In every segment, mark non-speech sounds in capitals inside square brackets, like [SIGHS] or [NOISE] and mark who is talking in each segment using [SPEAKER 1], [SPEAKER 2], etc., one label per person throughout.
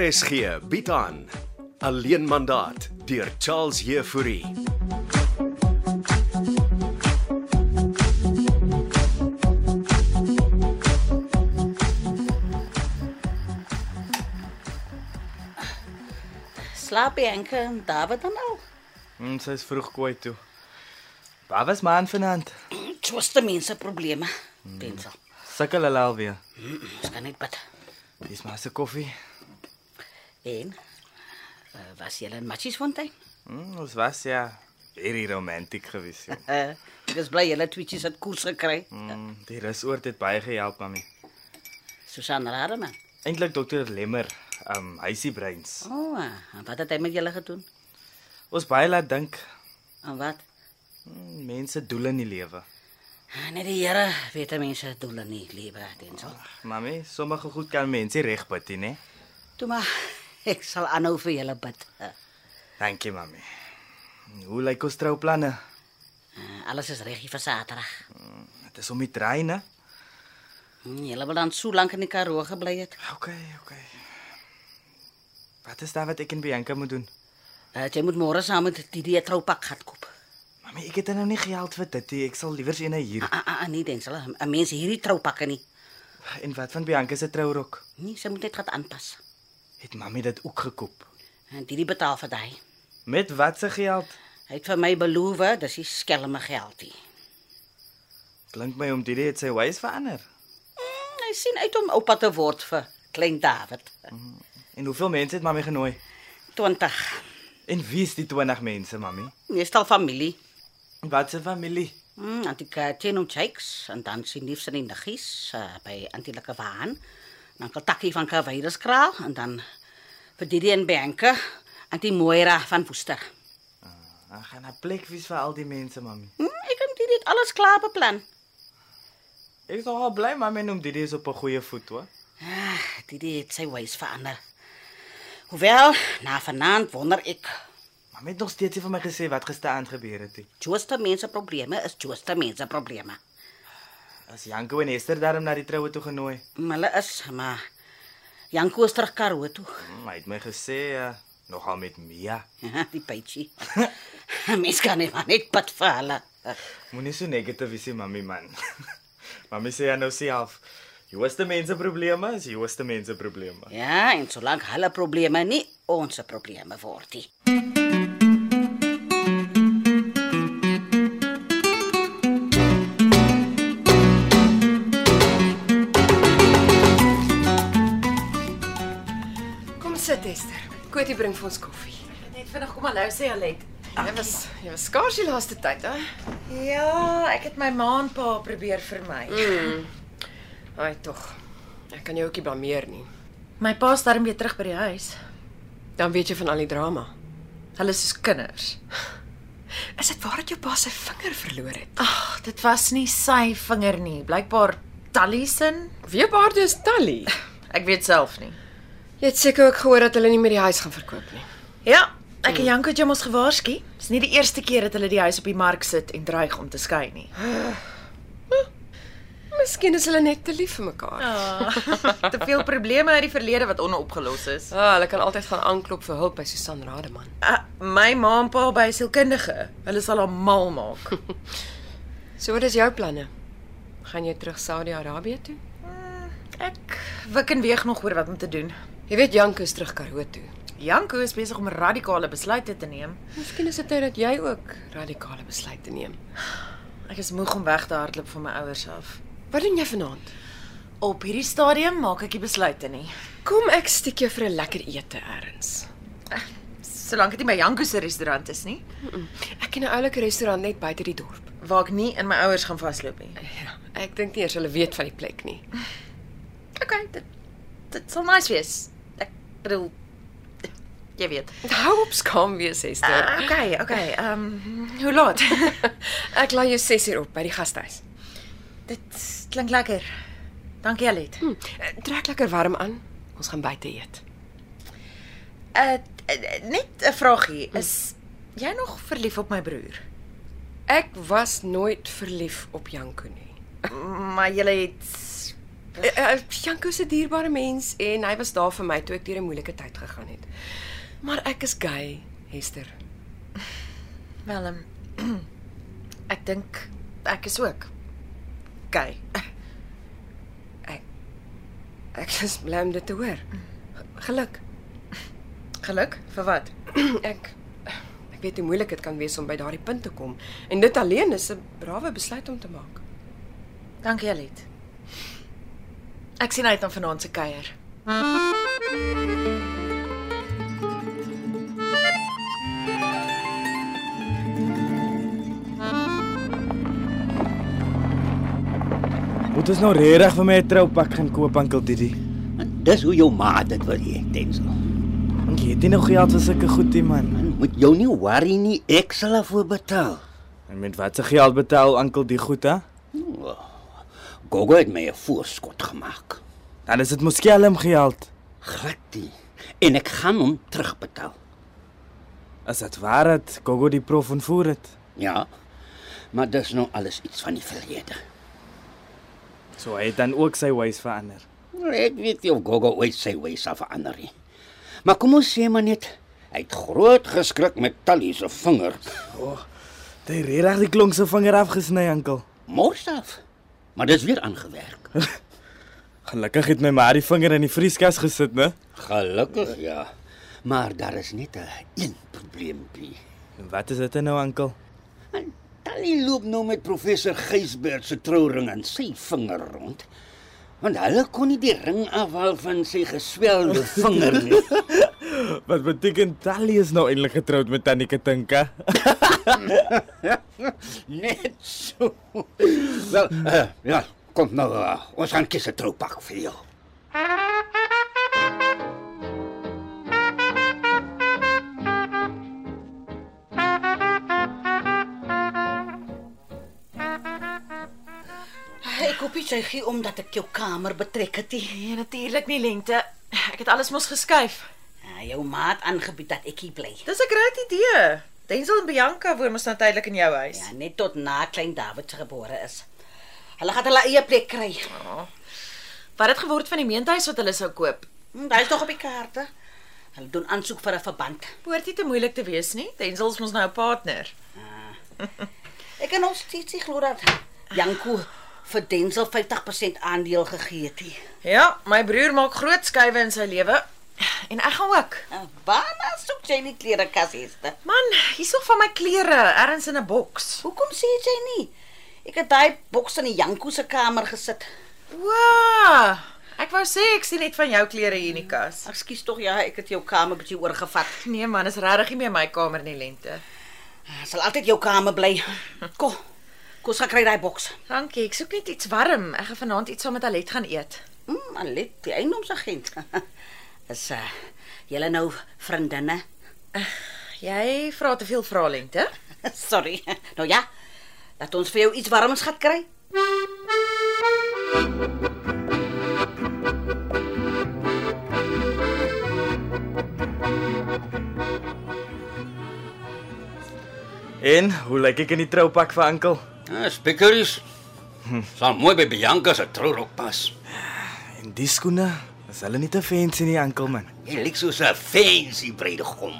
[SPEAKER 1] RSG bied aan Alleen mandaat deur Charles Heffouri.
[SPEAKER 2] Slaap jy enke en David dan al?
[SPEAKER 3] Ons Mm, is vroeg kwaai toe. Waar was man vanaand?
[SPEAKER 2] Tjoste mense probleme. Pensel.
[SPEAKER 3] Sukkel hulle alweer.
[SPEAKER 2] Ons kan net bid.
[SPEAKER 3] Dis maar se koffie.
[SPEAKER 2] En uh, was jy in Machiesfontein?
[SPEAKER 3] Mm, ons was ja very romantiek gewees. joh.
[SPEAKER 2] Uh, ek is bly julle tweetjies het koers gekry.
[SPEAKER 3] Mm, die rusoort het baie gehelp mami.
[SPEAKER 2] Susan Rademan.
[SPEAKER 3] Eintlik dokter Lemmer, um hysie breins.
[SPEAKER 2] O, oh, en wat het hy met julle gedoen?
[SPEAKER 3] Ons baie laat dink
[SPEAKER 2] En wat?
[SPEAKER 3] mm, mense doel in die lewe.
[SPEAKER 2] Net die Here weet hoe mense doel in die lewe, Pensel.
[SPEAKER 3] Mami, sommige goed kan mense regbid, hè?
[SPEAKER 2] Toe maar [LAUGHS] ek sal aanhou vir julle bid. Uh,
[SPEAKER 3] Dankie mami. Hoe lyk ons trouplanne?
[SPEAKER 2] alles is reg hier vir Saterdag.
[SPEAKER 3] Dit is om die trein, hè?
[SPEAKER 2] Hm, Julle wil dan so lank in die Karoo gebly het.
[SPEAKER 3] OK, OK. Wat is daar wat ek en Bianca moet doen?
[SPEAKER 2] Uh, jy moet môre saam met Didi 'n troupak gaan koop.
[SPEAKER 3] Mamy, ek het nou nie geld vir dit nie. Ek sal liewer eene hier.
[SPEAKER 2] Ah, ah, ah, nee, Pensel, 'n mens hierdie troupakke nie.
[SPEAKER 3] En wat van Bianca se trourok?
[SPEAKER 2] Nee, sy moet net gaan aanpas.
[SPEAKER 3] Het mamy dit ook gekoop?
[SPEAKER 2] En dit betaal vir daai.
[SPEAKER 3] Met wat se geld?
[SPEAKER 2] Hy het vir my beloof, dis nie skelme geldie.
[SPEAKER 3] Klink my om dit het sy wys verander.
[SPEAKER 2] Mm, hy sien uit om oupa te word vir klein David.
[SPEAKER 3] En hoeveel mense het mamy genooi?
[SPEAKER 2] 20.
[SPEAKER 3] En wie is die 20 mense, mamy?
[SPEAKER 2] Meestal familie.
[SPEAKER 3] En wat se familie?
[SPEAKER 2] Mm, antie Katien en Jakes en dan sien liefs in die niggies uh, by antie Lekewaan. Dan kan Takkie van Kaweiraskraal en dan vir Didi en Benke, antie Moira van Woester.
[SPEAKER 3] Ah, Ek gaan 'n plek wys vir al die mense, mamy.
[SPEAKER 2] Mm, ek het dit alles klaar beplan.
[SPEAKER 3] Ek is nogal bly mamy noem dit is op 'n goeie voet, hoor.
[SPEAKER 2] Ah, Didi het sy wys verander. Hoewel, na vanaand wonder ek
[SPEAKER 3] Mamy het nog steeds nie vir my gesê wat gisterand gebeur het nie.
[SPEAKER 2] Jooste mense probleme is jooste mense probleme.
[SPEAKER 3] As Janko en Esther daarom na die troue toe genooi.
[SPEAKER 2] Maar Hulle is maar Janko is terug Karoo toe.
[SPEAKER 3] Hmm, hy het my gesê uh, nogal met Mia.
[SPEAKER 2] Ja, die
[SPEAKER 4] [LAUGHS]
[SPEAKER 2] pytjie. Mens kan nie maar net pad vir hulle.
[SPEAKER 3] Moenie so negatief wees, nie, mami man. [LAUGHS] mami sê nou self, jy was te mense probleme, is jy was te mense probleme.
[SPEAKER 2] Ja, en solank hulle probleme nie ons probleme word nie.
[SPEAKER 5] Kom sit Esther. Kotie bring vir ons koffie.
[SPEAKER 6] Net vinnig kom hallo sê Alet.
[SPEAKER 5] Jy was jy was skaars die laaste tyd, hè?
[SPEAKER 6] Ja, ek het my ma en pa probeer vermy.
[SPEAKER 5] Ai tog. Ek kan jou ookie blameer nie.
[SPEAKER 6] My pa's darm weer terug by die huis.
[SPEAKER 5] Dan weet jy van al die drama.
[SPEAKER 6] Hulle is soos kinders.
[SPEAKER 5] Is dit waar dat jou pa sy vinger verloor het?
[SPEAKER 6] Ag, dit was nie sy vinger nie. Blykbaar Tallison.
[SPEAKER 5] Wie baard is Tally?
[SPEAKER 6] Ek weet self nie.
[SPEAKER 5] Jy het seker ook gehoor dat hulle nie meer die huis gaan verkoop nie.
[SPEAKER 6] Ja, ek en Janko het jou mos gewaarsku. Dis nie die eerste keer dat hulle die huis op die mark sit en dreig om te skei nie.
[SPEAKER 5] Miskien is hulle net te lief vir mekaar. Ja,
[SPEAKER 6] te veel probleme uit die verlede wat onopgelos is.
[SPEAKER 5] ah, hulle kan altyd gaan aanklop vir hulp by Susan Rademan.
[SPEAKER 6] Uh, my ma en pa by sielkundige. Hulle sal haar mal maak.
[SPEAKER 5] So wat is jou planne? Gaan jy terug Saudi-Arabië toe?
[SPEAKER 6] Ek wik en weeg nog oor wat om te doen.
[SPEAKER 5] Jy weet Janko is terug Karoo toe.
[SPEAKER 6] Janko is besig om radikale besluite te neem.
[SPEAKER 5] Miskien is dit tyd dat jy ook radikale besluite neem.
[SPEAKER 6] Ek is moeg om weg te hardloop van my ouers af.
[SPEAKER 5] Wat doen jy vanaand?
[SPEAKER 6] Op hierdie stadium maak ek nie besluite nie.
[SPEAKER 5] Kom ek stiek jou vir 'n lekker ete ergens.
[SPEAKER 6] Solank dit nie by Janko se restaurant is nie,
[SPEAKER 5] Ek ken 'n oulike restaurant net buite die dorp.
[SPEAKER 6] waar ek nie in my ouers gaan vasloop nie.
[SPEAKER 5] Ja, ek dink nie eers hulle weet van die plek nie.
[SPEAKER 6] Okay, dit dit sal nice wees. Ek bedoel jy weet.
[SPEAKER 5] [LAUGHS] Hou op skaam wees, Hester. [LAUGHS]
[SPEAKER 6] Uh, okay, okay. Ehm um, hoe [LAUGHS] laat?
[SPEAKER 5] Ek laai jou 6uur op by die gasthuis.
[SPEAKER 6] dit klink lekker. Dankie Alet.
[SPEAKER 5] Hm, trek lekker warm aan. Ons gaan buite eet.
[SPEAKER 6] Uh, net 'n vragie. Is jy nog verlief op my broer?
[SPEAKER 5] Ek was nooit verlief op Janko nie.
[SPEAKER 6] Maar jy het
[SPEAKER 5] Eh, eh, Shanko se dierbare mens en hy was daar vir my toe ek deur 'n moeilike tyd gegaan het. Maar ek is gay, Hester.
[SPEAKER 6] Wel, ehm, [CLEARS THROAT] ek dink ek is ook. Gay.
[SPEAKER 5] Ek is bly om dit te hoor. Geluk.
[SPEAKER 6] Geluk vir wat?
[SPEAKER 5] Ek ek weet hoe moeilik dit kan wees om by daardie punt te kom en dit alleen is 'n brawe besluit om te maak.
[SPEAKER 6] Dankie, Alet. Ek sien uit na vanaand se kuier.
[SPEAKER 3] Moet ons nou regtig vir my 'n troupak gaan koop, Ankel Didi?
[SPEAKER 4] Dis hoe jou ma dit wil hê, Denzel.
[SPEAKER 3] Want jy het nie nog geld vir sulke goed nie, man.
[SPEAKER 4] Man, moet jou nie worry nie, ek sal daarvoor betaal.
[SPEAKER 3] En met watter geld betaal Ankel die goed, hè?
[SPEAKER 4] Gogo het my 'n voorskot gemaak.
[SPEAKER 3] Dan is dit mos skelm geld.
[SPEAKER 4] Glad nie. En ek gaan hom terugbetaal.
[SPEAKER 3] As dit waar het Gogo die prof ontvoer het.
[SPEAKER 4] Ja. Maar dis nou alles iets van die verlede.
[SPEAKER 3] So hy het dan ook sy wys verander.
[SPEAKER 4] Nou, Ek weet nie of Gogo ooit sy wyse sal verander nie. Maar kom ons sê maar net, hy het groot geskrik met Tally se vinger.
[SPEAKER 3] Hy het regtig die klonk se vinger afgesny, Ankel.
[SPEAKER 4] Mors af. Maar dis weer aangewerk.
[SPEAKER 3] Gelukkig het my maar die vinger in die vrieskas gesit, né?
[SPEAKER 4] Gelukkig ja. Maar daar is net 'n een probleempie.
[SPEAKER 3] En wat is dit nou, Ankel?
[SPEAKER 4] En Tally loop nou met professor Gysbert se trouring aan sy vinger rond. Want hulle kon nie die ring afhaal van sy geswelde vinger nie.
[SPEAKER 3] Wat beteken Tally is nou eintlik getroud met Tannie Katinka? [LAUGHS]
[SPEAKER 4] Net so. Wel, uh, ja, kom nou. Uh, ons gaan kies 'n troupak vir jou.
[SPEAKER 2] Ek hoop jy gee om dat ek jou kamer betrek het. nie.
[SPEAKER 6] Nee, natuurlik nie lente. Ek het alles mos geskuif.
[SPEAKER 2] Ja, jou maat aangebied dat ek hier bly.
[SPEAKER 6] Dis 'n groot idee. Denzel en Bianca woon mos nou tydelik in jou huis.
[SPEAKER 2] Ja, net tot na klein David se gebore is. Hulle gaan hulle eie plek kry.
[SPEAKER 6] Wat het geword van die meentuis wat hulle sou koop?
[SPEAKER 2] Hm, Daar is nog op die kaarte. Hulle doen aansoek vir 'n verband.
[SPEAKER 6] Behoort nie te moeilik te wees nie. Denzel is mos nou 'n partner.
[SPEAKER 2] Ek kan ons steeds nie glo dat Janko vir Denzel 50% aandeel gegee het. nie.
[SPEAKER 6] Ja, my broer maak groot skuwe in sy lewe en ek gaan ook.
[SPEAKER 2] En Nou, Waarna soek jy nie klerekas hierste?
[SPEAKER 6] Man, hier's nog van my klere ergens in 'n boks.
[SPEAKER 2] Hoekom sê jy nie? Ek het daai boks in die Janko se kamer gesit.
[SPEAKER 6] Wow! Ek wou sê ek sien net van jou klere hier in die kas.
[SPEAKER 2] Ekskuus tog ja, ek het jou kamer bietjie oorgevat.
[SPEAKER 6] Nee man, is regtig nie meer my kamer nie lente.
[SPEAKER 2] Ek Ah, sal altyd jou kamer [LAUGHS] bly. Kom. Kom, ons gaan kry daai boks.
[SPEAKER 6] Dankie, ek soek net iets warm. Ek gaan vanaand iets saam met Alet gaan eet.
[SPEAKER 2] Mm, Alet, die eiendomsagent. [LAUGHS] Is uh, julle nou vriendinne?
[SPEAKER 6] Jy vra te veel vrae lente.
[SPEAKER 2] [LAUGHS] Sorry. Nou ja. Laat ons vir jou iets warms gaan kry.
[SPEAKER 3] En hoe lyk ek in die troupak vir Ankel?
[SPEAKER 4] Ja, spikkeries. Sal mooi by Bianca se trourok pas.
[SPEAKER 3] En die skoene, is hulle nie te fancy nie, Ankel man.
[SPEAKER 4] Jy lyk soos 'n fancy bruidegom.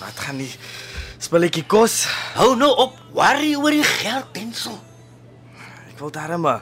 [SPEAKER 3] Wat gaan die spulletjie kos?
[SPEAKER 4] Hou nou op worry oor die geld, Denzel.
[SPEAKER 3] Ek wil darm 'n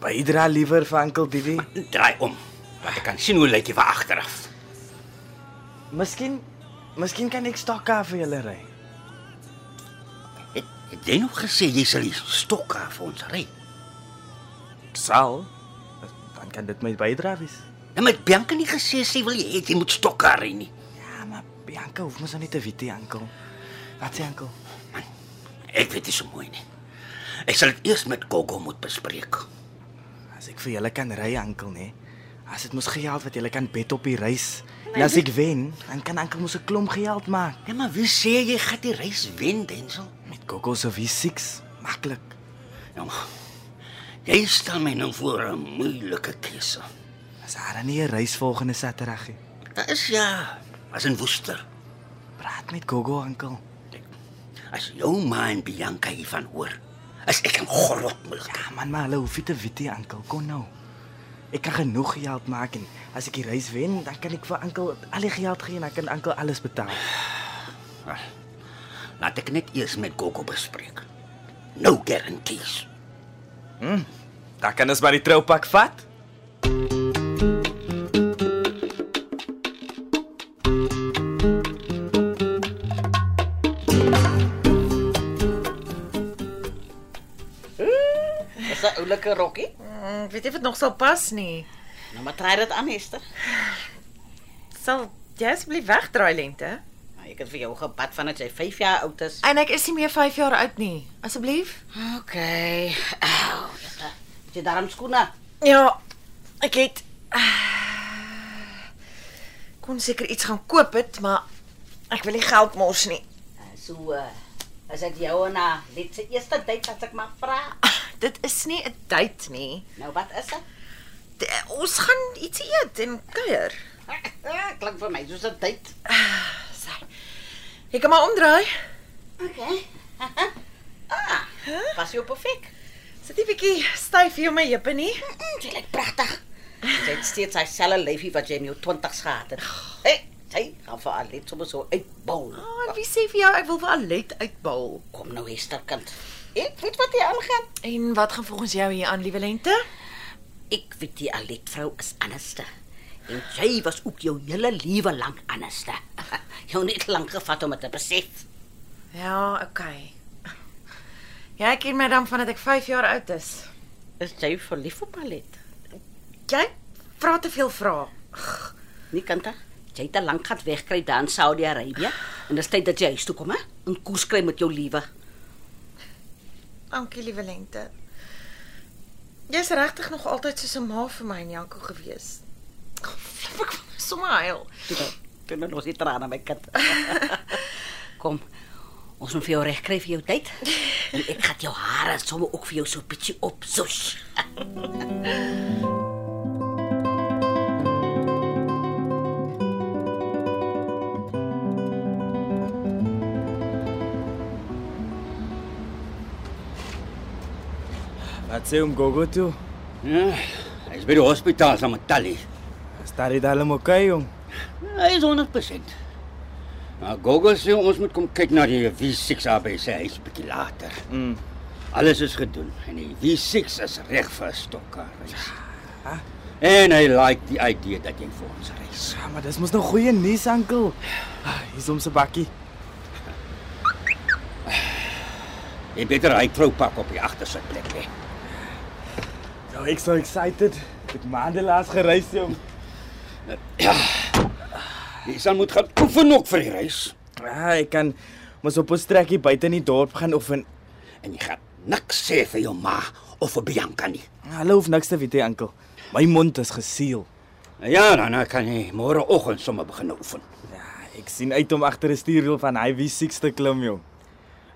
[SPEAKER 3] bydra liewer vir Ankel Didi.
[SPEAKER 4] Draai om. Want ek kan sien hoe lyk jy van agteraf.
[SPEAKER 3] Miskien miskien kan ek stokka vir julle ry.
[SPEAKER 4] Het, het jy nog gesê jy sal die stokke vir ons ry?
[SPEAKER 3] Ek sal. Dan kan dit my bydra wees.
[SPEAKER 4] En Nou, met Bianca nie gesê sy wil jy hê jy moet stokke ry nie.
[SPEAKER 3] Ja, maar Bianca hoef mos nou nie te weet nie, Ankel. Wat sê Ankel?
[SPEAKER 4] Ek weet dit so mooi nie. Ek sal dit eers met Gogo moet bespreek.
[SPEAKER 3] As ek vir julle kan ry, Ankel, nê. As dit mos geld wat julle kan bet op die reis. En as ek wen, dan kan Ankel mos 'n klomp geld maak.
[SPEAKER 4] Nee, maar wie sê jy gaan die reis wen, Denzel?
[SPEAKER 3] Met Gogo se V6, maklik.
[SPEAKER 4] Nou, maar, jy stel my nou voor 'n moeilike keuse.
[SPEAKER 3] As haar dan nie 'n reis volgende Saterdag nie.
[SPEAKER 4] Dit is ja, as 'n woester.
[SPEAKER 3] Praat met Gogo, Ankel.
[SPEAKER 4] As jou ma en Bianca hiervan hoor, as ek 'n gorrot moet.
[SPEAKER 3] Ja, man, maar hulle hoef nie te weet nie, Ankel. Kom nou. Ek kan genoeg geld maak en as ek die reis wen, dan kan ek vir oom al die geld gee en dan kan oom alles betaal.
[SPEAKER 4] Laat ek net eers met Gogo bespreek. No Nou, guarantees.
[SPEAKER 3] Dan kan ons maar die troupak vat.
[SPEAKER 2] Dis 'n oulike rokkie.
[SPEAKER 6] Ek Mm, weet nie of dit nog sal pas nie.
[SPEAKER 2] Nou maar try dit aan, Esther.
[SPEAKER 6] Sal jy asseblief wegdraai lente?
[SPEAKER 2] Nou, ek het vir jou gebad vandat jy 5 jaar oud is.
[SPEAKER 6] En ek is nie meer 5 jaar oud nie. Asseblief?
[SPEAKER 2] OK. Au, jette. Het Jy daarom skoene.
[SPEAKER 6] Ja. Ek het [SIGHS] kon seker iets gaan koop het, maar ek wil nie geld mors nie. [SIGHS]
[SPEAKER 2] So uh, as dit jou na dit se eerste date as ek maar vra.
[SPEAKER 6] Dit is nie 'n date nie.
[SPEAKER 2] Nou wat is dit? [LAUGHS]
[SPEAKER 6] D- Ons gaan iets eet en kuier.
[SPEAKER 2] Klink vir my soos 'n date.
[SPEAKER 6] Sy. Ek kan maar omdraai.
[SPEAKER 2] OK. [LAUGHS] ah, was jy perfek.
[SPEAKER 6] Sit nie bietjie styf hier om my heupe nie.
[SPEAKER 2] Mm, Jy lyk pragtig. Jy het steeds dieselfde lyfie wat jy in jou 20's gehad het. Hey, jy gaan vir al net sommer so uitbou.
[SPEAKER 6] Ah, oh, wie sê vir jou ek wil vir Alet uitbal?
[SPEAKER 2] Kom nou Esther kind. Ek weet wat jy aangaan.
[SPEAKER 6] En wat gaan volgens jou hier aan, liewe lente?
[SPEAKER 2] Ek weet die Alet vrou is anderste. En jy was ook jou hele lewe lank anderste. [LAUGHS] Jou net lank gevat om dit te besef.
[SPEAKER 6] Ja, okay. Jy ken my dan vandat ek 5 jaar oud is.
[SPEAKER 2] Is jy verlief op Alet?
[SPEAKER 6] Jy vra te veel vrae.
[SPEAKER 2] Nee, Kanta. Jy het te lank gehad wegkry daar in Saudi-Arabië en dis tyd dat jy huis toe kom, hè? En koers kry met jou lewe.
[SPEAKER 6] Dankie, liewe lente. Jy's regtig nog altyd soos 'n ma vir my en Janko gewees. Flip ek van sommer huil.
[SPEAKER 2] Toe nou, toe nou los die trane my kind. kom. Ons moet vir jou reg kry vir jou tyd. En ek gaan jou hare sommer ook vir jou so bietjie op soos.
[SPEAKER 3] Wat sê oom Gogo toe?
[SPEAKER 4] Ja, hy is by die hospitaal saam met Tally.
[SPEAKER 3] Is daar dit almal okay, oom?
[SPEAKER 4] Hy is 100%. Maar Gogo sê ons moet kom kyk na die V6 AB se huis bietjie later.
[SPEAKER 3] Mm.
[SPEAKER 4] Alles is gedoen en die V6 is reg vir 'n stokker reis. En hy like die idee dat jy vir ons reis.
[SPEAKER 3] Ja, maar dis mos nou goeie nuus, oom. Ah, hier is oom se bakkie.
[SPEAKER 4] Jy beter hy troupak op die agterste plek lê.
[SPEAKER 3] Nou, ek is so excited. Ek het maande laas gereis, oom.
[SPEAKER 4] Ja. Jy sal moet gaan oefen ook vir die reis
[SPEAKER 3] Ah, ek kan mos op 'n strekkie buite in die dorp gaan oefen.
[SPEAKER 4] en jy gaan niks sê vir jou ma of vir Bianca nie.
[SPEAKER 3] Hulle hoef niks te weet, hè, oom. My mond is geseël.
[SPEAKER 4] Ja, dan dan kan jy môreoggend sommer begin oefen.
[SPEAKER 3] Ja, ek sien uit om agter 'n stuurwiel van hy V6 te klim, jong.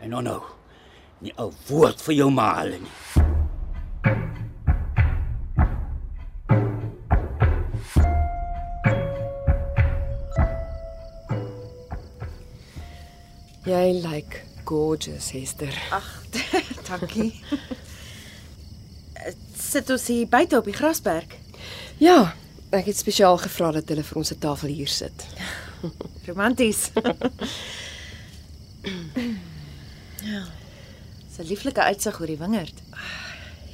[SPEAKER 4] En nou nou. Nie 'n woord vir jou ma hulle nie.
[SPEAKER 5] Jy lyk like gorgeous, Hester.
[SPEAKER 6] Ag, [LAUGHS] dankie. [LAUGHS] Sit ons hier buite op die grasperk.
[SPEAKER 5] Ja, ek het spesiaal gevra dat hulle vir ons 'n tafel hier sit.
[SPEAKER 6] [LAUGHS] Romanties. ja. So Ja. lieflike uitsig oor die wingerd.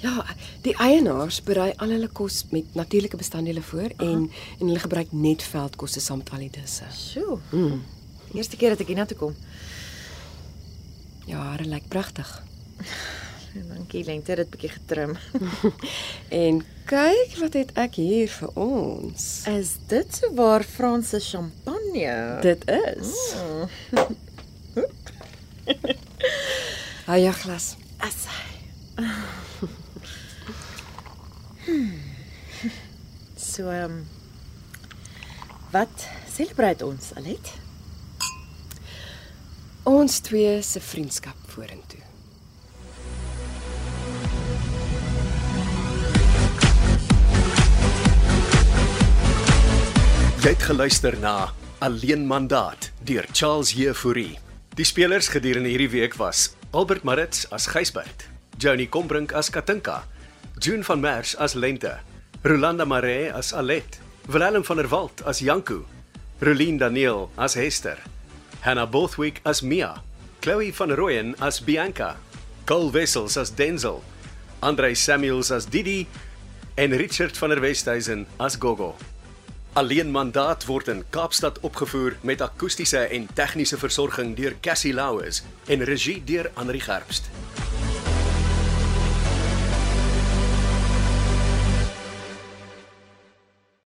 [SPEAKER 5] Ja, die eienaars berei al hulle kos met natuurlike bestanddele voor en en hulle gebruik net veldkosse saam met al die disse.
[SPEAKER 6] Sjoe. Die eerste keer dat ek hiernatoe kom.
[SPEAKER 5] Ja, hulle lyk pragtig.
[SPEAKER 6] Dankie lente, dit bietjie [LAUGHS] getrim.
[SPEAKER 5] En kyk wat het ek hier vir ons.
[SPEAKER 6] Is dit so waar Franse champagne?
[SPEAKER 5] Dit is. [LAUGHS] Hou jou glas.
[SPEAKER 6] As [LAUGHS] So ehm um, wat celebrate ons, Alet?
[SPEAKER 5] Ons twee se vriendskap vorentoe.
[SPEAKER 1] Jy het geluister na Alleen Mandaat deur Charles Jefouri. Die spelers gedurende hierdie week was Albert Maritz as Gysbert, Johnny Combrink as Katinka, June van Merwe as Lente, Rolanda Maree as Alet, Willem van der Walt as Janku, Rolien Daniel as Hester, Hannah Bothwick as Mia, Chloe van Rooyen as Bianca, Cole Wessels as Denzel, Andrei Samuels as Didi en Richard van der Westhuizen as Gogo. Alleen mandaat word in Kaapstad opgevoer met akoestiese en tegniese versorging deur Cassie Louws en regie deur Henri Gerst.